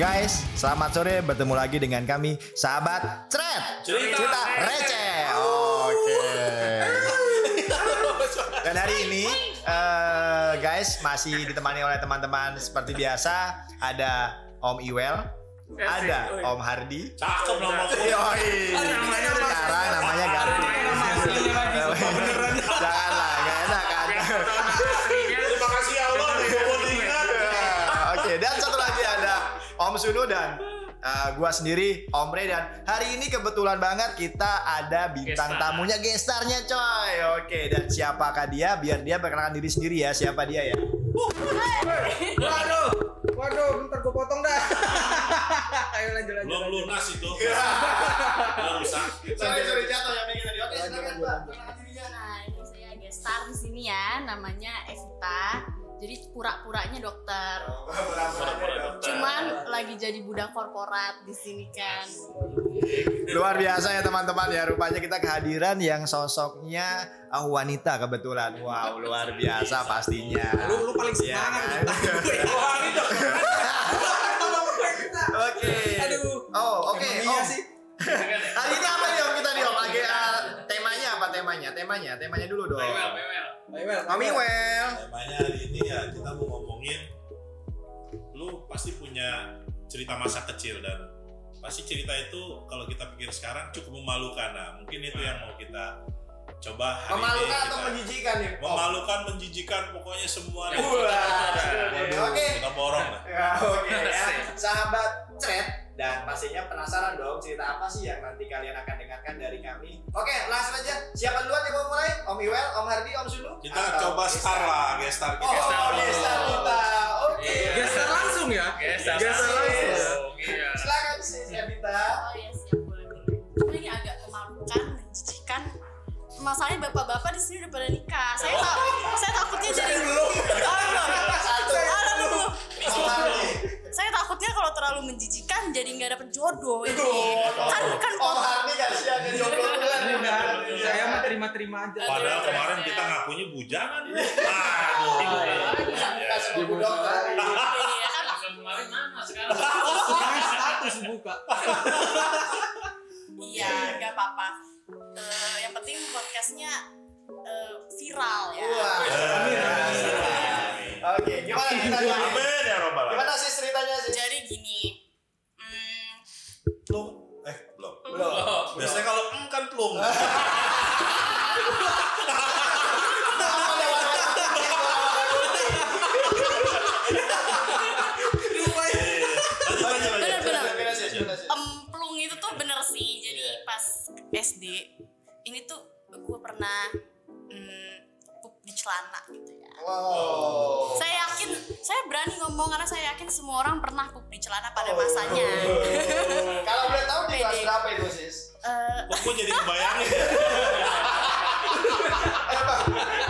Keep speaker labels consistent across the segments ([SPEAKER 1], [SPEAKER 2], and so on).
[SPEAKER 1] Guys, selamat sore bertemu lagi dengan kami sahabat Cret
[SPEAKER 2] Cerita
[SPEAKER 1] Receh. Oke. Dan hari ini eh, guys masih ditemani oleh teman-teman seperti biasa ada Om Iwel, ada Om Hardi.
[SPEAKER 2] Cakep loh mau
[SPEAKER 1] Yoi. Sekarang namanya ganti. Janganlah, gak enak kan.
[SPEAKER 2] Terima kasih ya Allah udah mau diingat.
[SPEAKER 1] Iya, Oke, dan satu lagi ada Om Sunu dan eh, gua sendiri Om Re dan hari ini kebetulan banget kita ada bintang
[SPEAKER 3] Gestar.
[SPEAKER 1] tamunya gestarnya coy. Oke, dan siapakah dia? Biar dia perkenalkan diri sendiri ya, siapa dia ya?
[SPEAKER 4] Waduh, waduh, bentar gue potong dah. Ayo lanjut lanjut.
[SPEAKER 2] Belum
[SPEAKER 4] lanjut.
[SPEAKER 2] lunas itu. Iya. Belum rusak.
[SPEAKER 1] jatuh ya mikirnya dia. Oke,
[SPEAKER 4] silakan, Mbak.
[SPEAKER 5] Nah, ini saya gestar di sini ya, namanya Evita. Jadi pura-puranya dokter. Cuman lagi jadi budak korporat di sini kan.
[SPEAKER 1] Luar biasa ya teman-teman ya rupanya kita kehadiran yang sosoknya ah, wanita kebetulan. Wow, luar biasa pastinya.
[SPEAKER 4] Lu lu paling
[SPEAKER 1] Iya,
[SPEAKER 4] semangat.
[SPEAKER 1] kan?
[SPEAKER 2] Wah, ini dong.
[SPEAKER 1] Oke.
[SPEAKER 4] Aduh.
[SPEAKER 1] Oh, oke. Om.
[SPEAKER 4] Emang Iya sih.
[SPEAKER 1] Hari ini apa nih Om kita nih Om? Lagi, eh, temanya apa temanya? Temanya, temanya dulu dong.
[SPEAKER 4] Mewel.
[SPEAKER 1] Mami well.
[SPEAKER 2] Temanya hari ini ya kita mau ngomongin lu pasti punya cerita masa kecil dan pasti cerita itu kalau kita pikir sekarang cukup memalukan nah mungkin itu yang mau kita coba hari
[SPEAKER 1] Memalukan
[SPEAKER 2] ini
[SPEAKER 1] atau
[SPEAKER 2] kita-
[SPEAKER 1] menjijikan nih? Om?
[SPEAKER 2] memalukan menjijikan pokoknya semua deh.
[SPEAKER 1] Wah. Oke.
[SPEAKER 2] kita borong lah
[SPEAKER 1] Ya, Oke ya. Sahabat Cret dan pastinya penasaran dong cerita apa sih yang nanti kalian akan dengarkan dari kami. Oke, langsung aja. Siapa duluan yang mau mulai? Om Iwel, Om Hardi, Om Sunu?
[SPEAKER 2] kita
[SPEAKER 1] Atau
[SPEAKER 2] coba star lah
[SPEAKER 1] Oh,
[SPEAKER 2] gestar kita
[SPEAKER 3] Gestar dulu.
[SPEAKER 1] Gestar kita.
[SPEAKER 3] Iya,
[SPEAKER 1] Oke.
[SPEAKER 4] Geser langsung ya.
[SPEAKER 3] Geser
[SPEAKER 4] Geser
[SPEAKER 3] langsung. Iya.
[SPEAKER 1] Silakan sih Evita.
[SPEAKER 5] Oh ya siap boleh boleh. Cuma ini agak memalukan, menjijikan. Masalahnya bapak-bapak di sini udah pada nikah. Saya tak, saya takutnya jadi belum. Oh, belum.
[SPEAKER 1] Satu.
[SPEAKER 5] Ah, udah dulu.
[SPEAKER 1] Om Hardi.
[SPEAKER 5] Saya takutnya kalau terlalu menjijikan jadi nggak dapet jodoh ini.
[SPEAKER 1] Aduh.
[SPEAKER 5] Kan kan
[SPEAKER 1] Om Hardi kasihan ya jomblo duluan.
[SPEAKER 4] Udah, saya mah terima-terima aja.
[SPEAKER 2] padahal kemarin kita
[SPEAKER 5] ya.
[SPEAKER 2] ngakunya bujangan aduh
[SPEAKER 1] Bukan Iya, semua budok kali.
[SPEAKER 5] Iya kan
[SPEAKER 3] Kemarin mana sekarang?
[SPEAKER 4] Sekarang status buka.
[SPEAKER 5] Iya, nggak apa-apa. Eh, yang penting podcastnya eh, viral ya.
[SPEAKER 1] Wah.
[SPEAKER 2] Amin.
[SPEAKER 1] Oke, gimana
[SPEAKER 5] Iya,
[SPEAKER 1] ceritanya?
[SPEAKER 2] amin ya robbal alamin.
[SPEAKER 1] Gimana sih ceritanya sih?
[SPEAKER 5] Jadi gini, hmm,
[SPEAKER 2] Plung. eh belum
[SPEAKER 1] Belum.
[SPEAKER 2] biasanya kalau em kan plung lanjut Iya. lanjut lanjut
[SPEAKER 5] Benar-benar. emplung itu tuh bener sih. Jadi pas SD, ini tuh gue pernah hmm, pup di celana gitu ya.
[SPEAKER 1] Wow.
[SPEAKER 5] Saya yakin, saya berani ngomong karena saya yakin semua orang pernah pup di celana pada masanya.
[SPEAKER 1] Oh. Kalau boleh tahu di kelas berapa itu sis?
[SPEAKER 5] Eh,
[SPEAKER 2] kok gue jadi kebayangin ya?
[SPEAKER 1] Emang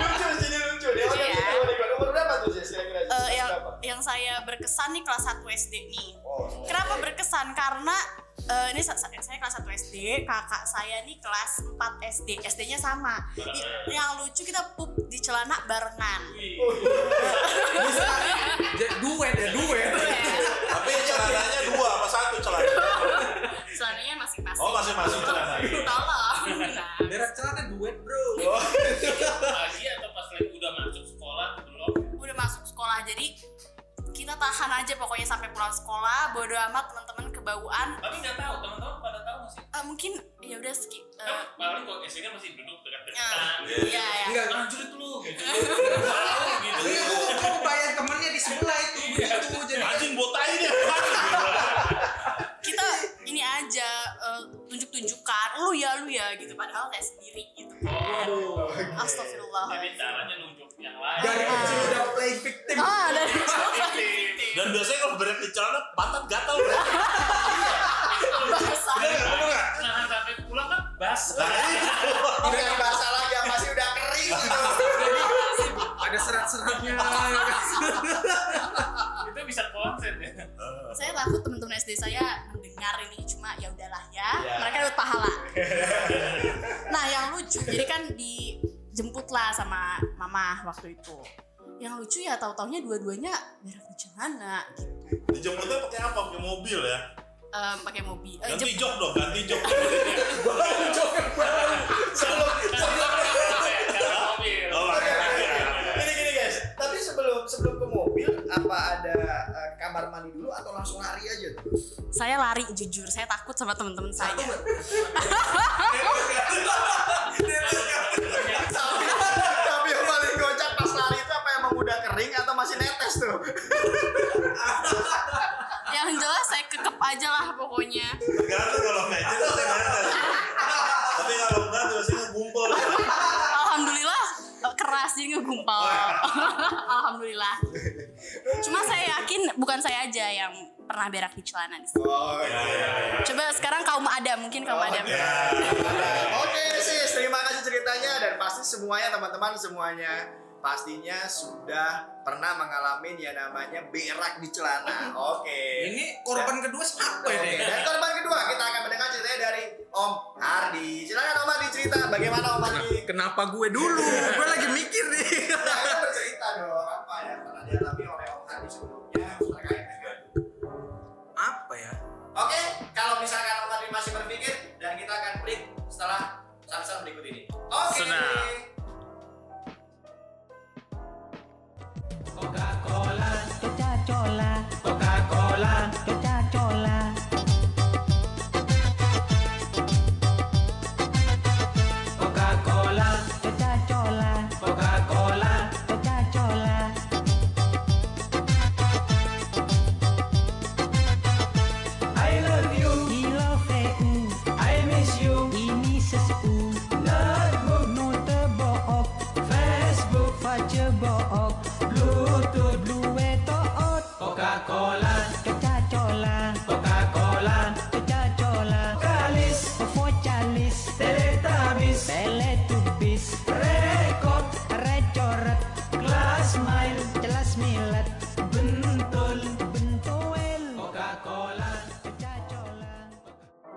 [SPEAKER 1] lucu jadi lucu. Dia udah
[SPEAKER 5] Iya.
[SPEAKER 1] tahu di kelas umur berapa tuh sis kira-kira? Sis?
[SPEAKER 5] eh, yang
[SPEAKER 1] Berapa?
[SPEAKER 5] yang saya berkesan nih kelas 1 SD nih.
[SPEAKER 1] Oh.
[SPEAKER 5] Kenapa berkesan? Karena eh, ini sa- sa- saya kelas 1 SD, kakak saya nih kelas 4 SD. SD-nya sama. I- yang lucu kita pup di celana barengan.
[SPEAKER 4] Bisa. Ja- Duet ya, duet.
[SPEAKER 2] tapi celananya dua apa satu celana
[SPEAKER 5] Celananya masing-masing.
[SPEAKER 2] oh masing-masing celana
[SPEAKER 5] Tolong. Nah,
[SPEAKER 4] Merek celana duet, Bro.
[SPEAKER 3] Pagi atau pas lagi udah masuk sekolah belum?
[SPEAKER 5] udah masuk sekolah jadi kita tahan aja pokoknya sampai pulang sekolah. Bodoh amat teman-teman kebauan.
[SPEAKER 3] Tapi nggak tahu teman-teman pada tahu nggak sih?
[SPEAKER 5] Eh, mungkin ya udah skip. Eh,
[SPEAKER 3] Kan paling kok SD kan masih duduk
[SPEAKER 5] ah,
[SPEAKER 3] dekat-dekat.
[SPEAKER 5] iya ya.
[SPEAKER 4] Enggak.
[SPEAKER 3] Anjir itu lu gitu. Tahu gitu.
[SPEAKER 4] Iya, gua gua kebayang temennya di sebelah itu
[SPEAKER 1] Iya.
[SPEAKER 4] begitu jadi.
[SPEAKER 2] anjing botain ya
[SPEAKER 5] Kita ini aja eh, tunjuk-tunjukkan. Lu ya, lu ya gitu. Padahal saya sendiri gitu.
[SPEAKER 4] Waduh.
[SPEAKER 5] Astagfirullah.
[SPEAKER 3] Jadi caranya nunjuk yang lain.
[SPEAKER 4] Dari kecil udah play victim.
[SPEAKER 5] Ah, dari
[SPEAKER 2] dan biasanya kalau berat di celana pantat gatal berat
[SPEAKER 5] basah.
[SPEAKER 2] Bener nggak? Bener nggak?
[SPEAKER 3] Nah, sampai pulang kan basah.
[SPEAKER 2] Nah, itu.
[SPEAKER 1] Oke, bahasa lagi yang masih udah kering gitu.
[SPEAKER 4] Ada serat-seratnya.
[SPEAKER 3] Itu bisa konsen ya.
[SPEAKER 5] Saya takut teman-teman SD saya mendengar ini cuma ya udahlah ya.
[SPEAKER 1] Ya.
[SPEAKER 5] Mereka dapat pahala. nah, yang lucu jadi kan dijemput lah sama mama waktu itu. yang lucu ya tahu-taunya dua-duanya berak bencana gitu.
[SPEAKER 2] Dijemputnya pakai apa? Pakai mobil ya?
[SPEAKER 5] Em, pakai mobil eh,
[SPEAKER 2] Ganti
[SPEAKER 5] jep-
[SPEAKER 2] jok dong, ganti jok.
[SPEAKER 4] Baru jok yang baru.
[SPEAKER 1] sebelum
[SPEAKER 3] mobil.
[SPEAKER 2] Oh, iya, iya, iya.
[SPEAKER 1] gini gini guys tapi sebelum sebelum ke mobil apa ada eh, kamar mandi dulu atau langsung lari aja tuh
[SPEAKER 5] saya lari jujur saya takut sama teman-teman saya
[SPEAKER 1] tapi tapi yang paling kocak pas lari itu apa emang udah kering atau masih netes tuh
[SPEAKER 5] yang jelas saya kekep aja lah pokoknya
[SPEAKER 2] Tergantung kalau kayaknya tuh saya netes. Tapi kalau enggak tuh biasanya gumpol.
[SPEAKER 5] alhamdulillah eh, keras jadi ngegumpal alhamdulillah cuma saya yakin bukan saya aja yang pernah berak di celana di sini.
[SPEAKER 1] oh
[SPEAKER 2] Ya,
[SPEAKER 4] iya,
[SPEAKER 2] ya, ya.
[SPEAKER 5] coba sekarang kaum ada mungkin kaum ada
[SPEAKER 2] Ya.
[SPEAKER 1] Nah, Oke sis, terima kasih ceritanya dan pasti semuanya teman-teman semuanya pastinya sudah pernah mengalami yang namanya berak di celana. Oke.
[SPEAKER 4] Ini korban kedua ya? siapa
[SPEAKER 1] Oke,
[SPEAKER 4] ini?
[SPEAKER 1] Dan korban kedua kita akan mendengar ceritanya dari Om Hardi. Silakan Om Hardi cerita bagaimana Om Hardi
[SPEAKER 4] Nah, Kenapa gue dulu? Gue lagi mikir nih.
[SPEAKER 1] Saya bercerita dong apa yang pernah dialami oleh Om Hardi sebelumnya terkait dengan
[SPEAKER 4] Apa ya?
[SPEAKER 1] Oke, kalau misalkan Om Hardi masih berpikir dan kita akan break setelah samsung berikut ini. Oke.
[SPEAKER 3] Senang.
[SPEAKER 6] Coca-Cola, Coca-Cola, Coca-Cola. Coca-Cola, Coca-Cola, Coca-Cola, Coca-Cola. I love you, he love you. I miss you, he misses you. Notebook, notebook, Facebook, Facebook, Bluetooth, Bluetooth. Coca-Cola, Coca-Cola, Coca-Cola, Coca-Cola. Calis, Focalis, Teletubbies, Teletubbies. Rekor, recoret, kelas mile, jelas milet. Bentul, bentuel. Coca-Cola, Coca-Cola.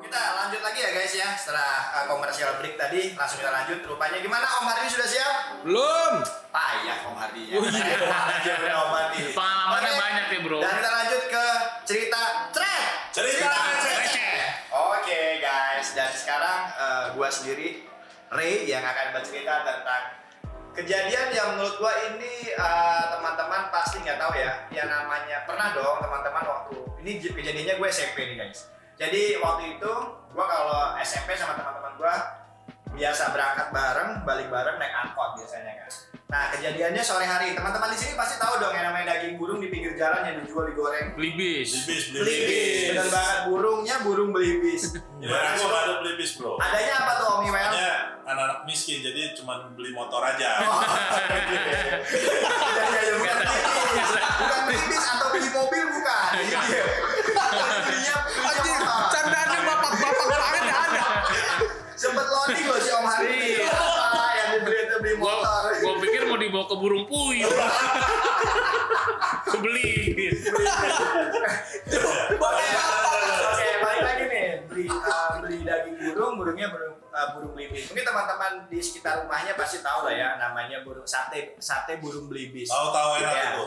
[SPEAKER 1] Kita lanjut lagi ya guys ya setelah uh, komersial break tadi langsung kita lanjut rupanya gimana Om Hardi sudah siap?
[SPEAKER 4] Belum.
[SPEAKER 1] Payah Om ya. Hardinya. Payah aja bener Om Hardi.
[SPEAKER 3] Pengalamannya
[SPEAKER 1] Oke,
[SPEAKER 3] banyak ya, Bro.
[SPEAKER 1] Dan kita lanjut ke cerita tren.
[SPEAKER 2] Cerita receh.
[SPEAKER 1] Oke guys dan sekarang uh, gua sendiri Ray yang akan bercerita tentang kejadian yang menurut gua ini uh, teman-teman pasti nggak tahu ya yang namanya pernah dong teman-teman waktu ini j- kejadiannya gue SMP nih guys jadi waktu itu gua kalau SMP sama teman-teman gua biasa berangkat bareng balik bareng naik angkot biasanya kan nah kejadiannya sore hari teman-teman di sini pasti tahu dong yang namanya daging burung di pinggir jalan yang dijual digoreng
[SPEAKER 3] Libis.
[SPEAKER 2] Belibis,
[SPEAKER 1] belibis
[SPEAKER 2] belibis.
[SPEAKER 1] benar banget burungnya burung belibis
[SPEAKER 2] Ya, aku nggak ada belibis bro.
[SPEAKER 1] kan, adanya apa tuh Om Iwel?
[SPEAKER 2] Soalnya anak-anak miskin jadi cuma beli motor aja.
[SPEAKER 1] Oh, iya, iya, iya, bukan tipis, bukan tipis atau beli mobil bukan. Iya. Belinya belinya
[SPEAKER 4] Anjir,
[SPEAKER 1] mahal.
[SPEAKER 4] candaannya bapak-bapak banget ya ada.
[SPEAKER 1] Sempet loading loh si Om Hari ini.
[SPEAKER 3] Iya.
[SPEAKER 1] Apa yang dibeli itu beli
[SPEAKER 3] Gua,
[SPEAKER 1] motor.
[SPEAKER 3] gua pikir mau dibawa ke burung puyuh. Kebeli.
[SPEAKER 1] Oke, balik lagi nih. Beli eh, beli daging burung, burungnya burung eh, burung belibis. Mungkin teman-teman di sekitar rumahnya pasti tahu lah ya namanya burung sate sate burung belibis.
[SPEAKER 2] Tahu-tahu enak
[SPEAKER 1] Iya.
[SPEAKER 2] itu.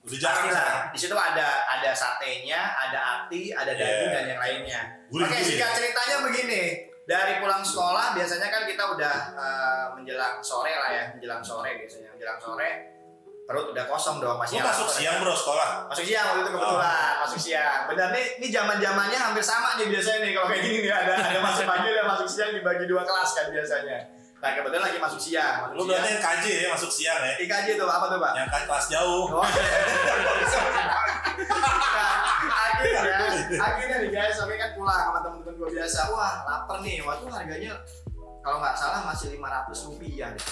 [SPEAKER 2] Udah jarang
[SPEAKER 1] Pasti
[SPEAKER 2] sekarang.
[SPEAKER 1] lah. Di situ ada ada satenya, ada ati, ada daging
[SPEAKER 2] Iya.
[SPEAKER 1] dan yang lainnya.
[SPEAKER 2] Gurih,
[SPEAKER 1] Oke,
[SPEAKER 2] gurih.
[SPEAKER 1] singkat ceritanya begini. Dari pulang sekolah biasanya kan kita udah eh, menjelang sore lah ya, menjelang sore biasanya, menjelang sore perut udah kosong dong
[SPEAKER 2] Lu
[SPEAKER 1] masih
[SPEAKER 2] masuk
[SPEAKER 1] lapar.
[SPEAKER 2] siang bro sekolah.
[SPEAKER 1] Masuk siang waktu itu
[SPEAKER 2] Oh.
[SPEAKER 1] kebetulan, masuk siang. Benar nih, ini zaman-zamannya hampir sama nih biasanya nih kalau kayak gini nih ada ada masuk pagi ada masuk siang dibagi dua kelas kan biasanya. Nah, kebetulan lagi masuk siang.
[SPEAKER 2] Lu
[SPEAKER 1] Masuk siang.
[SPEAKER 2] berarti yang KJ ya masuk siang ya.
[SPEAKER 1] IKJ tuh apa tuh, Pak?
[SPEAKER 2] Yang ke- kelas jauh.
[SPEAKER 1] Oh. Nah, akhirnya akhirnya nih guys sampai kan pulang sama temen-temen gue biasa wah lapar nih waktu harganya kalau nggak salah masih 500 rupiah deh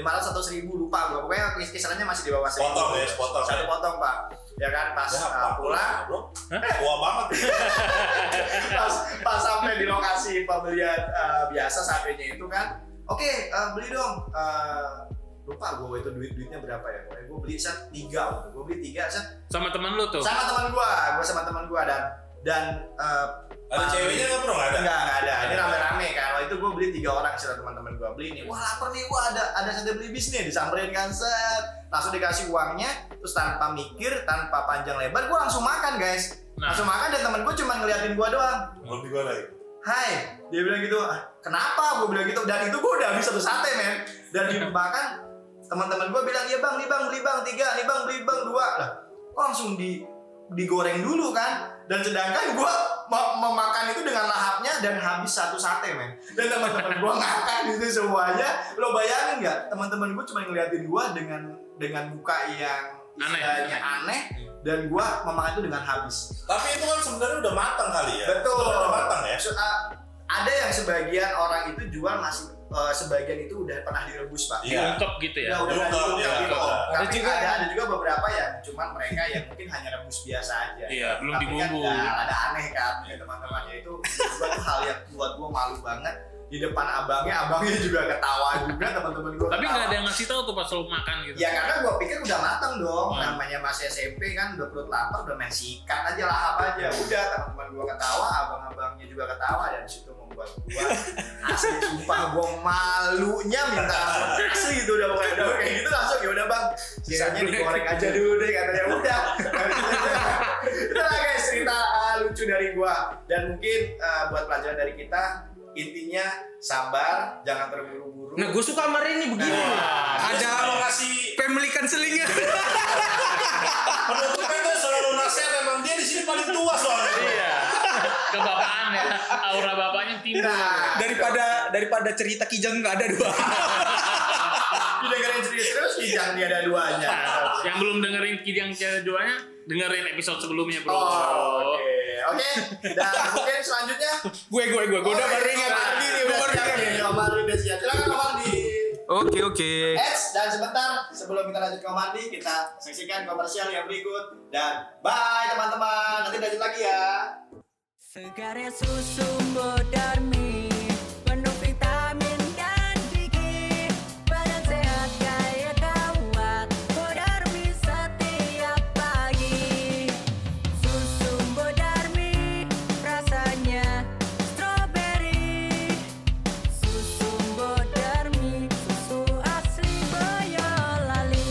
[SPEAKER 1] 500 atau 1000 lupa gue pokoknya kis- kisarannya masih di bawah 1000
[SPEAKER 2] Potong ya, potong.
[SPEAKER 1] satu potong pak ya kan pas
[SPEAKER 2] Ya,
[SPEAKER 1] uh, pulang
[SPEAKER 2] bro. Tua banget.
[SPEAKER 1] pas pas sampai di lokasi pembelian eh, biasa sampainya itu kan oke eh, beli dong Eh, lupa gue itu duit duitnya berapa ya pokoknya gue beli set tiga gue beli tiga set
[SPEAKER 3] Sama teman lu tuh.
[SPEAKER 1] sama teman gua gua sama teman gua dan dan eh, Ah.
[SPEAKER 2] Ada ceweknya nggak bro? Nggak ada.
[SPEAKER 1] enggak enggak ada ini rame-rame kalau itu itu gue beli tiga orang cerita teman-teman gue beli nih wah lapar nih wah ada ada sate belibis nih disamperin kan set langsung dikasih uangnya terus tanpa mikir tanpa panjang lebar gue langsung makan guys
[SPEAKER 3] Nah.
[SPEAKER 1] langsung makan dan temen gue cuma ngeliatin gue doang
[SPEAKER 2] Ngopi gue lagi.
[SPEAKER 1] Hai, dia bilang gitu. "Ah, Kenapa? Gue bilang gitu. Dan itu gue udah habis satu sate men. Dan dimakan teman-teman gue bilang ya bang, nih bang, beli bang tiga, nih bang, beli bang dua. Lah, kok langsung di digoreng dulu kan? Dan sedangkan gue mau memakan itu dengan lahapnya dan habis satu sate men. Dan teman-teman gue ngakak gitu semuanya. Lo bayangin nggak? Teman-teman gue cuma ngeliatin gue dengan dengan muka yang
[SPEAKER 3] Aneh.
[SPEAKER 1] istilahnya aneh dan gue memakan itu dengan habis.
[SPEAKER 2] Tapi itu kan sebenarnya udah matang kali ya.
[SPEAKER 1] Betul.
[SPEAKER 2] Sebenarnya Udah matang ya.
[SPEAKER 1] So, uh, ada yang sebagian orang itu jual masih uh, sebagian itu udah pernah direbus pak.
[SPEAKER 2] Iya.
[SPEAKER 3] Diungkep gitu ya.
[SPEAKER 1] Udah udah
[SPEAKER 2] Diungkep,
[SPEAKER 1] diungkep
[SPEAKER 2] iya,
[SPEAKER 1] gitu.
[SPEAKER 2] betul.
[SPEAKER 1] Tapi
[SPEAKER 4] Ada
[SPEAKER 1] ada
[SPEAKER 4] juga
[SPEAKER 1] juga ada,
[SPEAKER 4] yang-
[SPEAKER 1] juga beberapa yang cuman mereka yang mungkin hanya rebus biasa aja.
[SPEAKER 3] Iya, belum
[SPEAKER 1] Tapi kan
[SPEAKER 3] dibumbu.
[SPEAKER 1] ada, ada aneh kan ya teman-teman ya itu suatu hal yang buat gue malu banget di depan abangnya abangnya juga ketawa juga teman-teman gue
[SPEAKER 3] Tapi nggak ada yang ngasih tahu tuh pas lo makan gitu.
[SPEAKER 1] Ya karena gue pikir udah matang dong,
[SPEAKER 3] Hmm.
[SPEAKER 1] namanya masih SMP kan udah perut lapar, udah main sikat aja lahap aja.
[SPEAKER 3] Hmm.
[SPEAKER 1] Udah teman-teman gue ketawa, abang-abangnya juga ketawa dan situ membuat gue asli sumpah gue malunya minta ampun. asli gitu udah pokoknya udah kayak gitu langsung ya udah bang sisanya
[SPEAKER 3] Iya,
[SPEAKER 1] digoreng aja dulu deh katanya udah. Itulah guys cerita uh, lucu dari gue dan mungkin uh, buat pelajaran dari kita intinya sabar, jangan terburu-buru.
[SPEAKER 4] Nah, gue suka sama ini begini.
[SPEAKER 3] Wah.
[SPEAKER 4] Ada
[SPEAKER 2] selalu kasih
[SPEAKER 4] family counseling-nya.
[SPEAKER 2] penutupnya itu selalu nasihat emang dia di sini paling tua soalnya.
[SPEAKER 3] Iya. Kebapaan ya. Aura bapaknya timbul.
[SPEAKER 1] Nah,
[SPEAKER 4] daripada daripada cerita kijang nggak ada dua.
[SPEAKER 1] didengerin serius terus kijang dia ada Iya, duanya
[SPEAKER 3] Yang belum dengerin Kijang Kijang duanya, dengerin episode sebelumnya bro.
[SPEAKER 1] oh oke oke dan mungkin selanjutnya Oh,
[SPEAKER 4] gue gue gue gue udah baru ingat tadi nih, gue baru ingat. Eh.
[SPEAKER 1] Om Ardi udah siap silakan Om Ardi
[SPEAKER 6] Oke oke.
[SPEAKER 1] Eits, dan sebentar sebelum kita lanjut ke Om Ardi kita saksikan komersial yang berikut dan bye teman-teman nanti lanjut lagi ya
[SPEAKER 6] Segarnya ya susu Bodarmi Penuh vitamin dan gigi Badan sehat gaya kuat Bodarmi setiap pagi Susu Bodarmi Rasanya stroberi Susu Bodarmi Susu asli Boyolali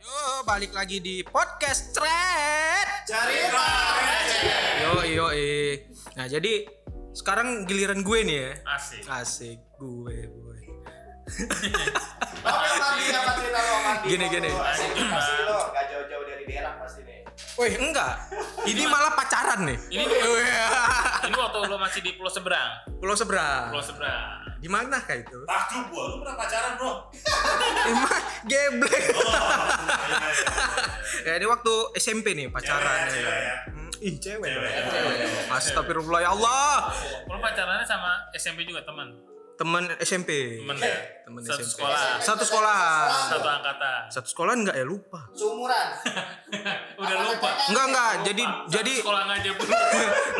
[SPEAKER 4] Yo, balik lagi di podcast Thread.
[SPEAKER 2] Iya.
[SPEAKER 1] cerita receh
[SPEAKER 4] Yo, yo, eh. Nah, jadi sekarang giliran gue nih ya.
[SPEAKER 3] Asik.
[SPEAKER 4] Asik gue, gue.
[SPEAKER 1] Oke, Om Ardi apa cerita lo Om Ardi
[SPEAKER 4] Gini, gini.
[SPEAKER 1] Pasti pasti lo nggak jauh-jauh dari daerah pasti nih
[SPEAKER 4] Woi, enggak. Ini malah pacaran nih.
[SPEAKER 3] Ini- Ini waktu lo masih di Pulau Seberang.
[SPEAKER 4] Pulau seberang.
[SPEAKER 3] Pulau Seberang.
[SPEAKER 4] Di mana kah itu?
[SPEAKER 2] Takjub Nah, gua, lu pernah pacaran bro?
[SPEAKER 4] Emang geblek.
[SPEAKER 2] Iya, iya.
[SPEAKER 4] ya ini waktu SMP nih
[SPEAKER 2] Cewek ya,
[SPEAKER 4] pacaran ya.
[SPEAKER 2] cewek ya.
[SPEAKER 4] Hmm, Ih, cewek.
[SPEAKER 2] Cewek.
[SPEAKER 3] Ya,
[SPEAKER 4] Astagfirullah ya Allah.
[SPEAKER 3] Lo pacarannya sama SMP juga teman.
[SPEAKER 4] Temen SMP.
[SPEAKER 3] Temen ya.
[SPEAKER 1] Iya,
[SPEAKER 4] Temen
[SPEAKER 3] Satu
[SPEAKER 4] SMP.
[SPEAKER 3] sekolah.
[SPEAKER 4] Satu sekolahan.
[SPEAKER 3] Satu angkatan.
[SPEAKER 4] Satu sekolahan enggak ya lupa.
[SPEAKER 1] seumuran
[SPEAKER 3] Udah lupa.
[SPEAKER 4] Enggak enggak.
[SPEAKER 3] Lupa.
[SPEAKER 4] Jadi
[SPEAKER 3] Satu
[SPEAKER 4] jadi
[SPEAKER 3] sekolah aja pun.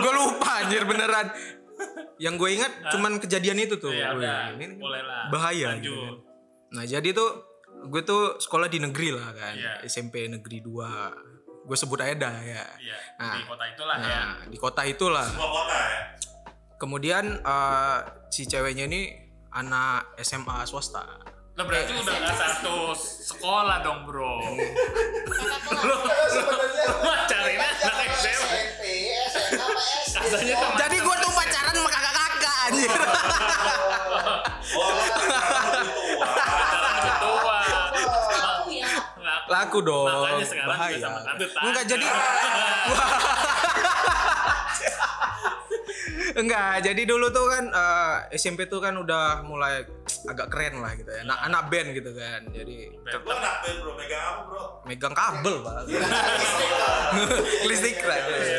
[SPEAKER 4] gue lupa anjir beneran. Yang gue ingat cuman kejadian itu tuh.
[SPEAKER 3] Ah. Iya,
[SPEAKER 4] Gue,
[SPEAKER 3] udah.
[SPEAKER 4] ini
[SPEAKER 3] Boleh lah.
[SPEAKER 4] bahaya
[SPEAKER 3] Lanjut.
[SPEAKER 4] gitu kan. Nah, jadi tuh gue tuh sekolah di negeri lah kan.
[SPEAKER 3] Iya.
[SPEAKER 4] SMP negeri 2. Gue sebut aja dah ya.
[SPEAKER 3] Iya,
[SPEAKER 4] Nah.
[SPEAKER 3] di kota itulah ya.
[SPEAKER 4] Nah, di kota itulah.
[SPEAKER 2] Gua kota ya.
[SPEAKER 4] Kemudian eh, si ceweknya ini anak SMA swasta.
[SPEAKER 3] Lo berarti
[SPEAKER 4] Eh.
[SPEAKER 3] udah gak satu sekolah dong bro. Lo
[SPEAKER 1] sebenarnya Kan
[SPEAKER 3] pacarinnya anak SMA.
[SPEAKER 1] SMP SMA apa SD
[SPEAKER 3] Asalnya
[SPEAKER 1] Oh,
[SPEAKER 3] teman.
[SPEAKER 4] Jadi gue tuh pacaran sama kakak-kakak anjir.
[SPEAKER 2] Oh, lu pacaran lu tua.
[SPEAKER 3] Pacaran udah tua.
[SPEAKER 5] Aku ya.
[SPEAKER 3] Laku.
[SPEAKER 4] Laku dong.
[SPEAKER 3] Makanya sekarang
[SPEAKER 4] bahaya.
[SPEAKER 3] juga sama kartu tanda.
[SPEAKER 4] Enggak jadi Enggak, jadi dulu tuh kan eh, SMP tuh kan udah mulai agak keren lah gitu ya. Anak, anak band gitu kan. Jadi
[SPEAKER 2] Gua anak band bro, megang apa bro?
[SPEAKER 4] megang kabel Pak. Listrik lah.
[SPEAKER 2] Iya,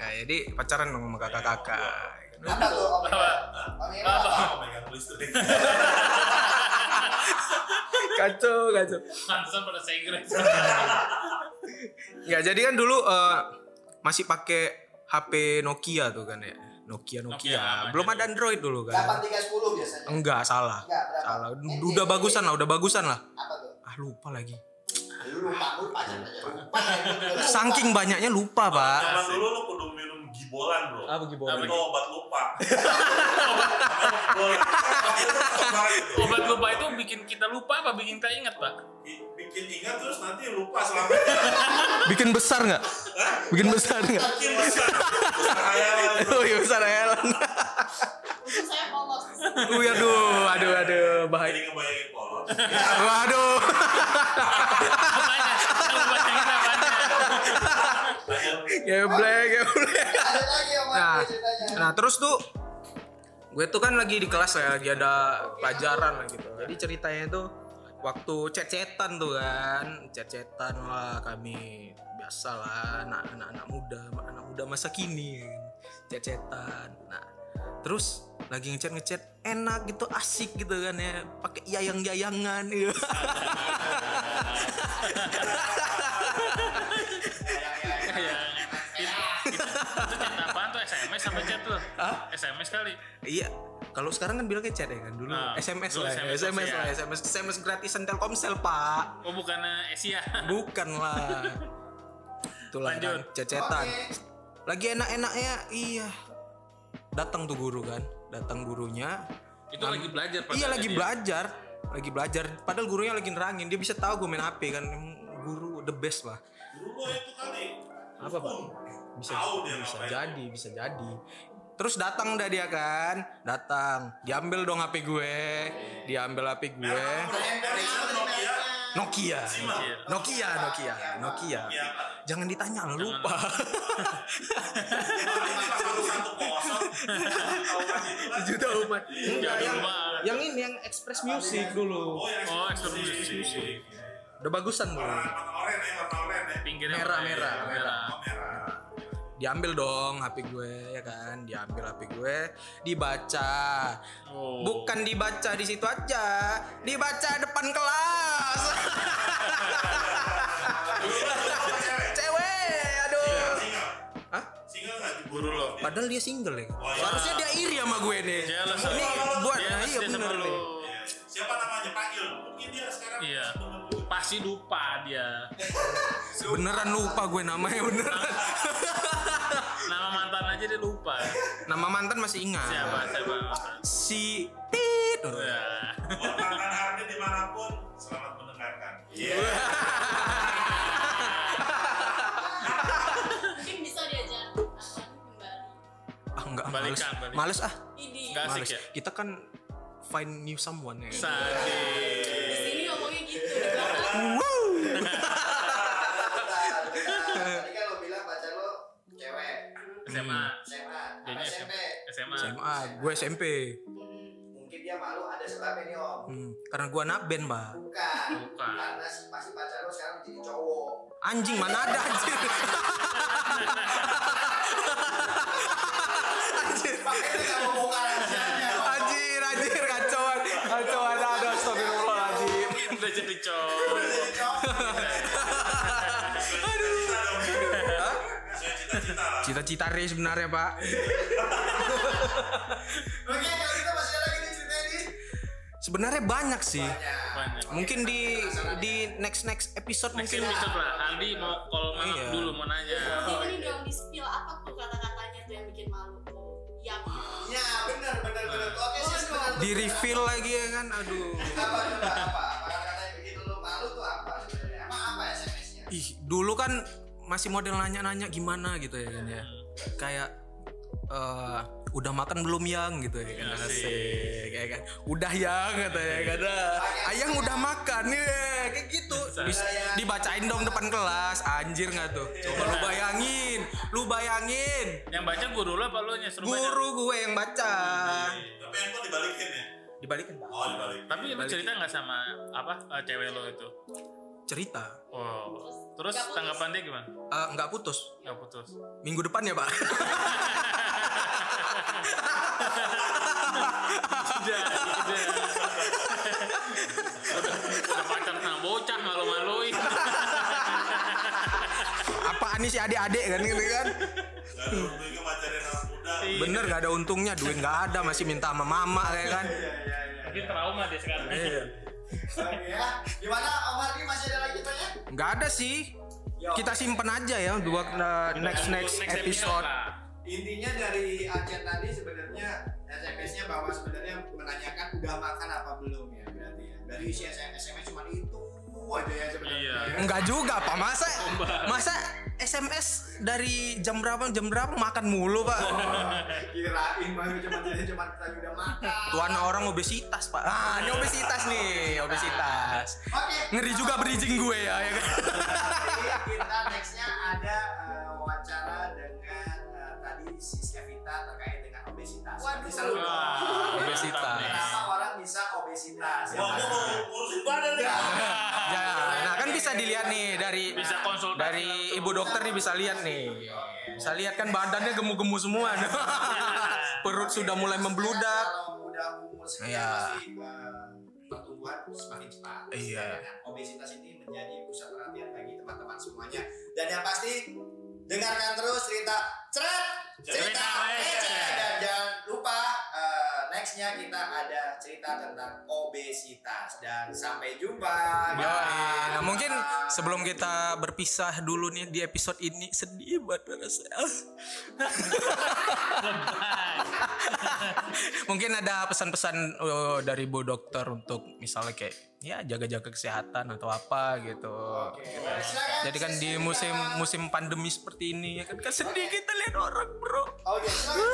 [SPEAKER 4] Nah, jadi pacaran dong sama kakak-kakak.
[SPEAKER 1] Apa tuh Om Ira? Om Ira apa?
[SPEAKER 2] Apa megang listrik?
[SPEAKER 4] Kacau, kacau.
[SPEAKER 3] Pantesan pada saya Inggris.
[SPEAKER 4] Ya jadi kan dulu eh, masih pakai HP Nokia tuh kan ya. Nokia
[SPEAKER 3] Nokia,
[SPEAKER 4] Nokia.
[SPEAKER 3] apa
[SPEAKER 4] Belum
[SPEAKER 3] aja
[SPEAKER 4] ada Android dulu
[SPEAKER 1] Delapan
[SPEAKER 4] kan.
[SPEAKER 1] tiga sepuluh biasanya.
[SPEAKER 4] Enggak salah.
[SPEAKER 1] Enggak, berapa?
[SPEAKER 4] Salah. Udah
[SPEAKER 1] Eh,
[SPEAKER 4] udah
[SPEAKER 1] eh,
[SPEAKER 4] bagusan lah, udah bagusan lah.
[SPEAKER 1] Apa tuh?
[SPEAKER 4] Ah lupa lagi.
[SPEAKER 1] Lu lupa, lu lupa aja. Lupa.
[SPEAKER 4] Saking banyaknya lupa, Pak.
[SPEAKER 2] Zaman dulu lu kudu minum gin jebolan bro.
[SPEAKER 4] Apa gimana?
[SPEAKER 2] Itu obat lupa. Namanya jebolan.
[SPEAKER 3] Obat lupa itu bikin kita lupa apa bikin kita ingat pak?
[SPEAKER 2] Bi- bikin ingat terus nanti lupa selamanya.
[SPEAKER 4] Bikin besar nggak? Bikin besar nggak?
[SPEAKER 2] Bikin besar. Besar hayalan.
[SPEAKER 4] Oh iya besar Ellen.
[SPEAKER 5] Untung saya polos.
[SPEAKER 4] Wih aduh, aduh aduh bahaya.
[SPEAKER 2] Jadi ngebayangin polos.
[SPEAKER 4] Waduh.
[SPEAKER 3] Apanya? Obatnya kita apanya?
[SPEAKER 4] Geblek, geblek.
[SPEAKER 1] Ada lagi yang
[SPEAKER 4] Nah,
[SPEAKER 1] mana ceritanya?
[SPEAKER 4] nah terus tuh gue tuh kan lagi di kelas lah, lagi ada pelajaran lah gitu. Jadi ceritanya tuh waktu cecetan tuh kan, cecetan lah kami biasa lah anak- anak-anak muda, anak muda masa kini kan. Cecetan. Nah, terus lagi ngechat ngechat enak gitu asik gitu kan ya pakai yayang yayangan gitu.
[SPEAKER 3] Ya, ya. Itu itu chat apaan tuh SMS sampai chat tuh? SMS kali.
[SPEAKER 4] Iya, kalau sekarang kan bilangnya chat ya kan dulu
[SPEAKER 3] Nah,
[SPEAKER 4] SMS
[SPEAKER 3] dulu
[SPEAKER 4] lah, ya,
[SPEAKER 3] SMS
[SPEAKER 4] SMS, lah,
[SPEAKER 3] ya.
[SPEAKER 4] SMS, SMS gratisan Telkomsel pak,
[SPEAKER 3] Oh bukannya Asia.
[SPEAKER 4] bukan lah. Itulah
[SPEAKER 3] Lanjut.
[SPEAKER 4] kan, cecetan.
[SPEAKER 1] Oke.
[SPEAKER 4] Lagi enak-enaknya, iya. Datang tuh guru kan, datang gurunya.
[SPEAKER 3] Itu lagi belajar
[SPEAKER 4] iya
[SPEAKER 3] padahal
[SPEAKER 4] lagi
[SPEAKER 3] dia.
[SPEAKER 4] belajar, lagi belajar. Padahal gurunya lagi nerangin, dia bisa tahu gue main HP kan. Emang Guru the best lah.
[SPEAKER 2] Dulu itu kali.
[SPEAKER 4] apa pak bisa
[SPEAKER 2] Tahu dia
[SPEAKER 4] bisa
[SPEAKER 2] ngapain.
[SPEAKER 4] jadi bisa jadi terus datang dah dia kan datang diambil dong hp gue diambil hp gue
[SPEAKER 2] Dari sana Nokia. Nokia.
[SPEAKER 4] Nokia Nokia Nokia Nokia
[SPEAKER 2] Nokia apa?
[SPEAKER 4] jangan ditanya lah lupa
[SPEAKER 2] Satu satu kosong. Tahu kan itu kan?
[SPEAKER 4] juta umat
[SPEAKER 3] Ya,
[SPEAKER 4] Enggak, yang
[SPEAKER 3] dulu mah.
[SPEAKER 4] yang ini yang Express Music dulu
[SPEAKER 2] Oh, yang
[SPEAKER 3] Oh,
[SPEAKER 2] eksekusi.
[SPEAKER 3] eksekusi.
[SPEAKER 4] udah bagusan tuh
[SPEAKER 2] Warna warna oranye ya, warna oranye.
[SPEAKER 3] Pinggirnya
[SPEAKER 4] Merah,
[SPEAKER 3] warna
[SPEAKER 4] merah,
[SPEAKER 3] merah.
[SPEAKER 2] Oh, merah.
[SPEAKER 4] diambil dong hp gue ya kan diambil hp gue dibaca
[SPEAKER 3] Oh.
[SPEAKER 4] bukan dibaca di situ aja dibaca depan kelas cewek aduh
[SPEAKER 2] Singa.
[SPEAKER 4] Hah?
[SPEAKER 2] Singa nggak diburu loh.
[SPEAKER 4] padahal dia single
[SPEAKER 2] Oh,
[SPEAKER 4] ya
[SPEAKER 2] iya.
[SPEAKER 4] harusnya dia iri sama gue nih
[SPEAKER 3] Jealous
[SPEAKER 4] ini
[SPEAKER 2] sama lo.
[SPEAKER 4] buat
[SPEAKER 3] Dia
[SPEAKER 4] nah, iya
[SPEAKER 3] pasti sama
[SPEAKER 4] bener
[SPEAKER 3] lu.
[SPEAKER 4] nih
[SPEAKER 2] Siapa namanya? Panggil. Mungkin dia sekarang.
[SPEAKER 3] Iya. Pasti lupa dia.
[SPEAKER 4] beneran lupa gue namanya beneran
[SPEAKER 3] Nama mantan aja dia lupa.
[SPEAKER 4] nama mantan masih ingat
[SPEAKER 3] Siapa siapa mantan.
[SPEAKER 4] si tit
[SPEAKER 3] Ya.
[SPEAKER 2] Buat mantan Ardi dimanapun, selamat mendengarkan. Iya.
[SPEAKER 5] Mungkin bisa diajak Arman kembali.
[SPEAKER 4] ah enggak ah, males
[SPEAKER 3] Balikan, balikan.
[SPEAKER 4] males ah
[SPEAKER 5] Ini.
[SPEAKER 3] Nggak asik
[SPEAKER 4] males
[SPEAKER 3] ya.
[SPEAKER 4] kita kan find new someone ya
[SPEAKER 3] Sadis.
[SPEAKER 5] Di sini ngomongnya gitu. di belakang.
[SPEAKER 1] Bentar, bentar. Tadi kan lo bilang pacar lo cewek
[SPEAKER 3] SMA.
[SPEAKER 4] Hmm.
[SPEAKER 1] SMA, apa
[SPEAKER 3] Kayaknya
[SPEAKER 1] SMP.
[SPEAKER 3] SMA.
[SPEAKER 4] SMA gue SMP
[SPEAKER 1] Mungkin dia malu ada sebabnya nih om.
[SPEAKER 4] Hmm, karena gue anak band pak
[SPEAKER 1] Bukan.
[SPEAKER 3] Bukan.
[SPEAKER 1] Karena si- pasti pacar lo sekarang jadi cowok.
[SPEAKER 4] Anjing mana ada anjing. anjir.
[SPEAKER 1] Makanya kamu bongkar rahasianya.
[SPEAKER 4] Anjir, anjir kacauan. Kacauan ada astagfirullahaladzim.
[SPEAKER 3] Udah jadi cowok.
[SPEAKER 1] Jadi cowok.
[SPEAKER 2] Sesuai cita-cita dong. Sesuai cita-cita lah.
[SPEAKER 4] Cita-cita Ri sebenarnya, Pak.
[SPEAKER 1] Oke, kalau kita masih ada lagi nih ceritanya nih.
[SPEAKER 4] Sebenarnya banyak sih.
[SPEAKER 1] Ya.
[SPEAKER 3] Banyak.
[SPEAKER 4] Mungkin di di next next episode
[SPEAKER 3] Next
[SPEAKER 4] mungkin
[SPEAKER 3] episode lah. Andi mau kalau malam
[SPEAKER 4] Iya.
[SPEAKER 3] dulu mau nanya.
[SPEAKER 5] Nanti ini dong di spill apa tuh kata-katanya tuh yang bikin malu tuh. Yang
[SPEAKER 1] Ya, benar benar benar. Oke, sis benar.
[SPEAKER 4] di reveal lagi ya kan. Aduh.
[SPEAKER 1] Apa coba apa? Apa kata yang bikin lo malu tuh apa sebenarnya? Apa apa SMS-nya?
[SPEAKER 4] Ih, dulu kan masih model nanya-nanya gimana gitu ya kan ya. Kayak eh udah makan belum yang gitu ya kan asik ya kan udah yang kata ya kan Ah, ayang udah makan nih kayak gitu Bis- dibacain dong depan kelas anjir nggak tuh coba lu bayangin lu bayangin
[SPEAKER 3] Yang baca guru lo apa lo nya suruh baca?
[SPEAKER 4] guru gue yang baca
[SPEAKER 2] Tapi yang kok dibalikin ya?
[SPEAKER 4] dibalikin pak
[SPEAKER 2] Oh, dibalikin.
[SPEAKER 3] Tapi lu cerita nggak sama apa eh, cewek lo itu?
[SPEAKER 4] cerita
[SPEAKER 3] Oh. Terus
[SPEAKER 5] Nggak putus.
[SPEAKER 3] tanggapan dia gimana?
[SPEAKER 4] Eh, nggak putus
[SPEAKER 3] Gak putus.
[SPEAKER 4] minggu depan ya pak
[SPEAKER 3] Udah, udah. Udah pacar sama bocah malu-maluin.
[SPEAKER 4] apaan nih si adik-adik kan gitu kan
[SPEAKER 2] Gak ada untungnya pacarin anak muda.
[SPEAKER 4] bener nggak ada untungnya duit nggak ada masih minta sama mama ya kan
[SPEAKER 3] Mungkin trauma dia sekarang.
[SPEAKER 4] Iya.
[SPEAKER 1] Oke ya. Gimana Om Hardi masih ada lagi tanya?
[SPEAKER 4] nggak ada sih kita simpen aja ya buat eh, next next
[SPEAKER 3] Untuk
[SPEAKER 4] episode
[SPEAKER 3] lah.
[SPEAKER 1] intinya dari Aceh tadi sebenarnya SMS-nya bahwa sebenarnya menanyakan udah makan apa belum ya berarti ya. Dari isi SMS nya cuma itu aja ya sebenarnya.
[SPEAKER 3] Iya.
[SPEAKER 1] ya.
[SPEAKER 4] Enggak juga, Pak. Masa masa SMS dari jam berapa jam berapa makan mulu, Pak.
[SPEAKER 1] Kirain baru cuma jadi cuma tadi udah makan.
[SPEAKER 4] Tuan orang obesitas, Pak. Ah, ini obesitas nih, obesitas.
[SPEAKER 1] Oke.
[SPEAKER 4] Ngeri juga bridging gue ya, ya kan?
[SPEAKER 1] Nanti kita nextnya ada eh, wawancara dengan eh, tadi Sis Evita terkait dengan obesitas.
[SPEAKER 5] Waduh.
[SPEAKER 1] Nanti seru.
[SPEAKER 3] Wah,
[SPEAKER 4] Obesitas.
[SPEAKER 3] mantap nih.
[SPEAKER 1] Kenapa orang bisa obesitas?
[SPEAKER 2] Wah, gua mau ngurusin badan nih.
[SPEAKER 1] Iya.
[SPEAKER 4] Ya, nah kan bisa dilihat nih dari
[SPEAKER 3] Bisa konsultasi
[SPEAKER 4] dari ibu dokter nih bisa lihat nih. Bisa lihat kan badannya gemu-gemu semua. Perut sudah mulai membludak.
[SPEAKER 1] Kalau udah umur sekian
[SPEAKER 4] Iya.
[SPEAKER 1] pasti eh, pertumbuhan semakin cepat.
[SPEAKER 4] Iya.
[SPEAKER 1] Sedangkan Obesitas ini menjadi pusat perhatian bagi teman-teman semuanya. Dan yang pasti dengarkan terus cerita ceret cerita,
[SPEAKER 3] Cerita
[SPEAKER 1] receh.
[SPEAKER 3] receh.
[SPEAKER 1] dan jangan lupa eh, nextnya kita ada cerita tentang obesitas dan sampai jumpa.
[SPEAKER 4] Yoi.
[SPEAKER 1] guys.
[SPEAKER 4] Nah mungkin sebelum kita berpisah dulu nih di episode ini sedih banget rasanya. mungkin ada pesan-pesan uh, dari Bu Dokter untuk misalnya kayak ya jaga-jaga kesehatan atau apa gitu.
[SPEAKER 1] Oke, baik. Silakan,
[SPEAKER 4] Jadi kan
[SPEAKER 1] Sis
[SPEAKER 4] di
[SPEAKER 1] Evita.
[SPEAKER 4] musim musim pandemi seperti ini ya kan, kan sedih kita lihat orang bro.
[SPEAKER 1] Oke, silakan.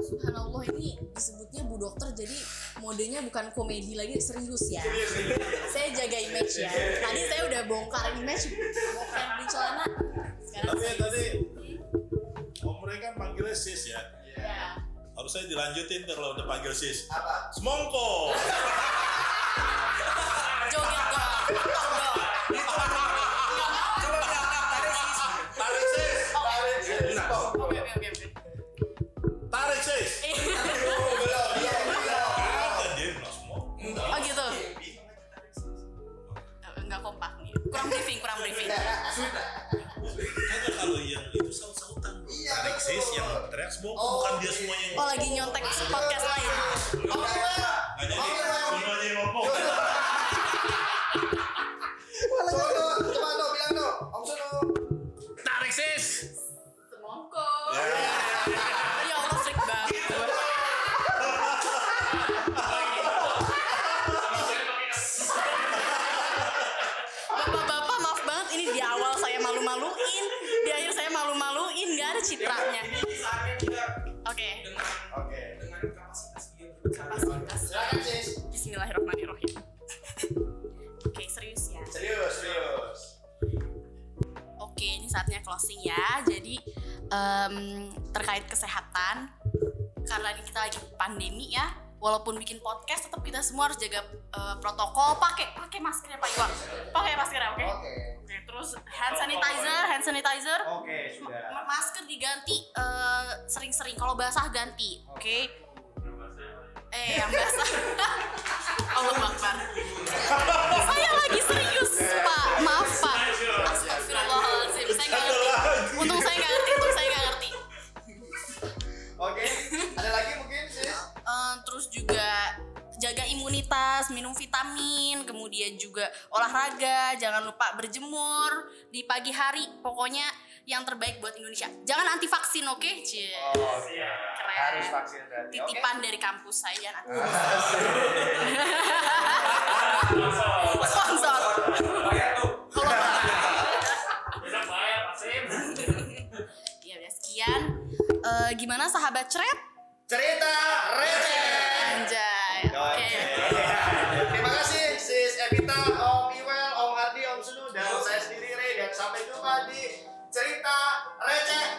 [SPEAKER 5] Subhanallah ini disebutnya Bu Dokter jadi modenya bukan komedi lagi serius ya. saya jaga image ya. Tadi saya udah bongkar image bongkar di celana. Sekarang
[SPEAKER 2] Tapi
[SPEAKER 5] saya
[SPEAKER 2] tadi Om Ray kan panggilnya sis ya.
[SPEAKER 5] ya.
[SPEAKER 2] Harusnya dilanjutin tuh kalau udah panggil sis.
[SPEAKER 1] Apa?
[SPEAKER 2] Semongko.
[SPEAKER 5] Joget dong. Potong dong.
[SPEAKER 2] Tarik sis.
[SPEAKER 1] Tarik, Sis.
[SPEAKER 5] Oke oke oke. oke.
[SPEAKER 2] Tarik sis.
[SPEAKER 1] Oh, belum. Iya, belum.
[SPEAKER 2] Ada dia bilang semongko.
[SPEAKER 5] Oh gitu. Enggak kompak nih. Kurang briefing, kurang briefing.
[SPEAKER 1] Nah.
[SPEAKER 2] Kagak kalau yang itu saut-sautan. bro.
[SPEAKER 1] Iya,
[SPEAKER 2] Tarik
[SPEAKER 1] betul.
[SPEAKER 2] sis yang teriak semongko
[SPEAKER 1] Oh,
[SPEAKER 2] bukan dia
[SPEAKER 1] iya.
[SPEAKER 2] semuanya. yang-
[SPEAKER 5] Oh lagi nyontek podcast lain.
[SPEAKER 2] Nggak jadi. Semuanya yang ngomong.
[SPEAKER 3] Tarik sis.
[SPEAKER 5] Semongko. Ya Allah freak banget. Bapak-bapak maaf banget ini di awal saya malu-maluin, di akhir saya malu-maluin, gak ada citranya. Oke, kapasitas. Bismillahirrahmanirrahim. Oke, serius ya. Oke, ini saatnya closing ya. Jadi em, terkait kesehatan, karena ini kita lagi pandemi ya. Walaupun bikin podcast, tetap kita semua harus jaga eh, protokol. Pakai pakai masker ya Pak Iwan. Pakai masker ya, oke? Oke, terus hand sanitizer, hand sanitizer.
[SPEAKER 1] Oke, sudah.
[SPEAKER 5] Ma- Masker diganti eh, sering-sering. Kalau basah ganti, oke? Eh, yang basah. Allah Akbar. Saya lagi serius, Pak. Maaf, Pak. Astagfirullahaladzim. Saya nggak ngerti. Untung saya nggak ngerti, untung saya nggak ngerti.
[SPEAKER 1] Oke, ada lagi mungkin sis?
[SPEAKER 5] Eh, terus juga jaga imunitas, minum vitamin, kemudian juga olahraga, jangan lupa berjemur di pagi hari. Pokoknya yang terbaik buat Indonesia. Jangan anti vaksin, oke? Cie. Keren.
[SPEAKER 1] Oh, iya. Harus vaksin berarti. Oke. Ah.
[SPEAKER 5] Titipan dari kampus saya nanti. Sponsor.
[SPEAKER 1] Oh, iya.
[SPEAKER 5] Kalau Ya udah sekian. Eh, gimana sahabat cret?
[SPEAKER 1] Cerita receh.
[SPEAKER 5] Anjay. Oke.
[SPEAKER 1] Oke. Terima kasih Sis Evita, Om Iwel, Om Ardi, Om Sunu dan saya sendiri Ray dan sampai jumpa di cerita receh